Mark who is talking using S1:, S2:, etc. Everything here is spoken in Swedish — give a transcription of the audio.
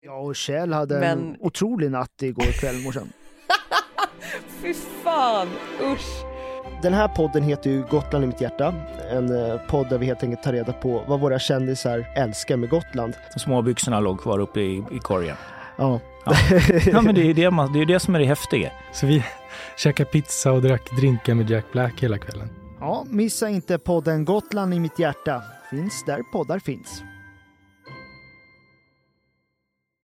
S1: Ja, och Kjell hade en
S2: Men-
S1: otrolig natt igår kväll morsan.
S2: Fy fan, usch.
S1: Den här podden heter ju Gotland i mitt hjärta. En eh, podd där vi helt enkelt tar reda på vad våra kändisar älskar med Gotland.
S3: Småbyxorna låg kvar uppe i, i korgen.
S1: Ja,
S3: Ja, men det är ju det, man, det, är ju det som är det häftiga.
S4: Så vi käkade pizza och drack drinkar med Jack Black hela kvällen.
S1: ja missa inte podden Gotland i mitt hjärta. Finns där poddar finns.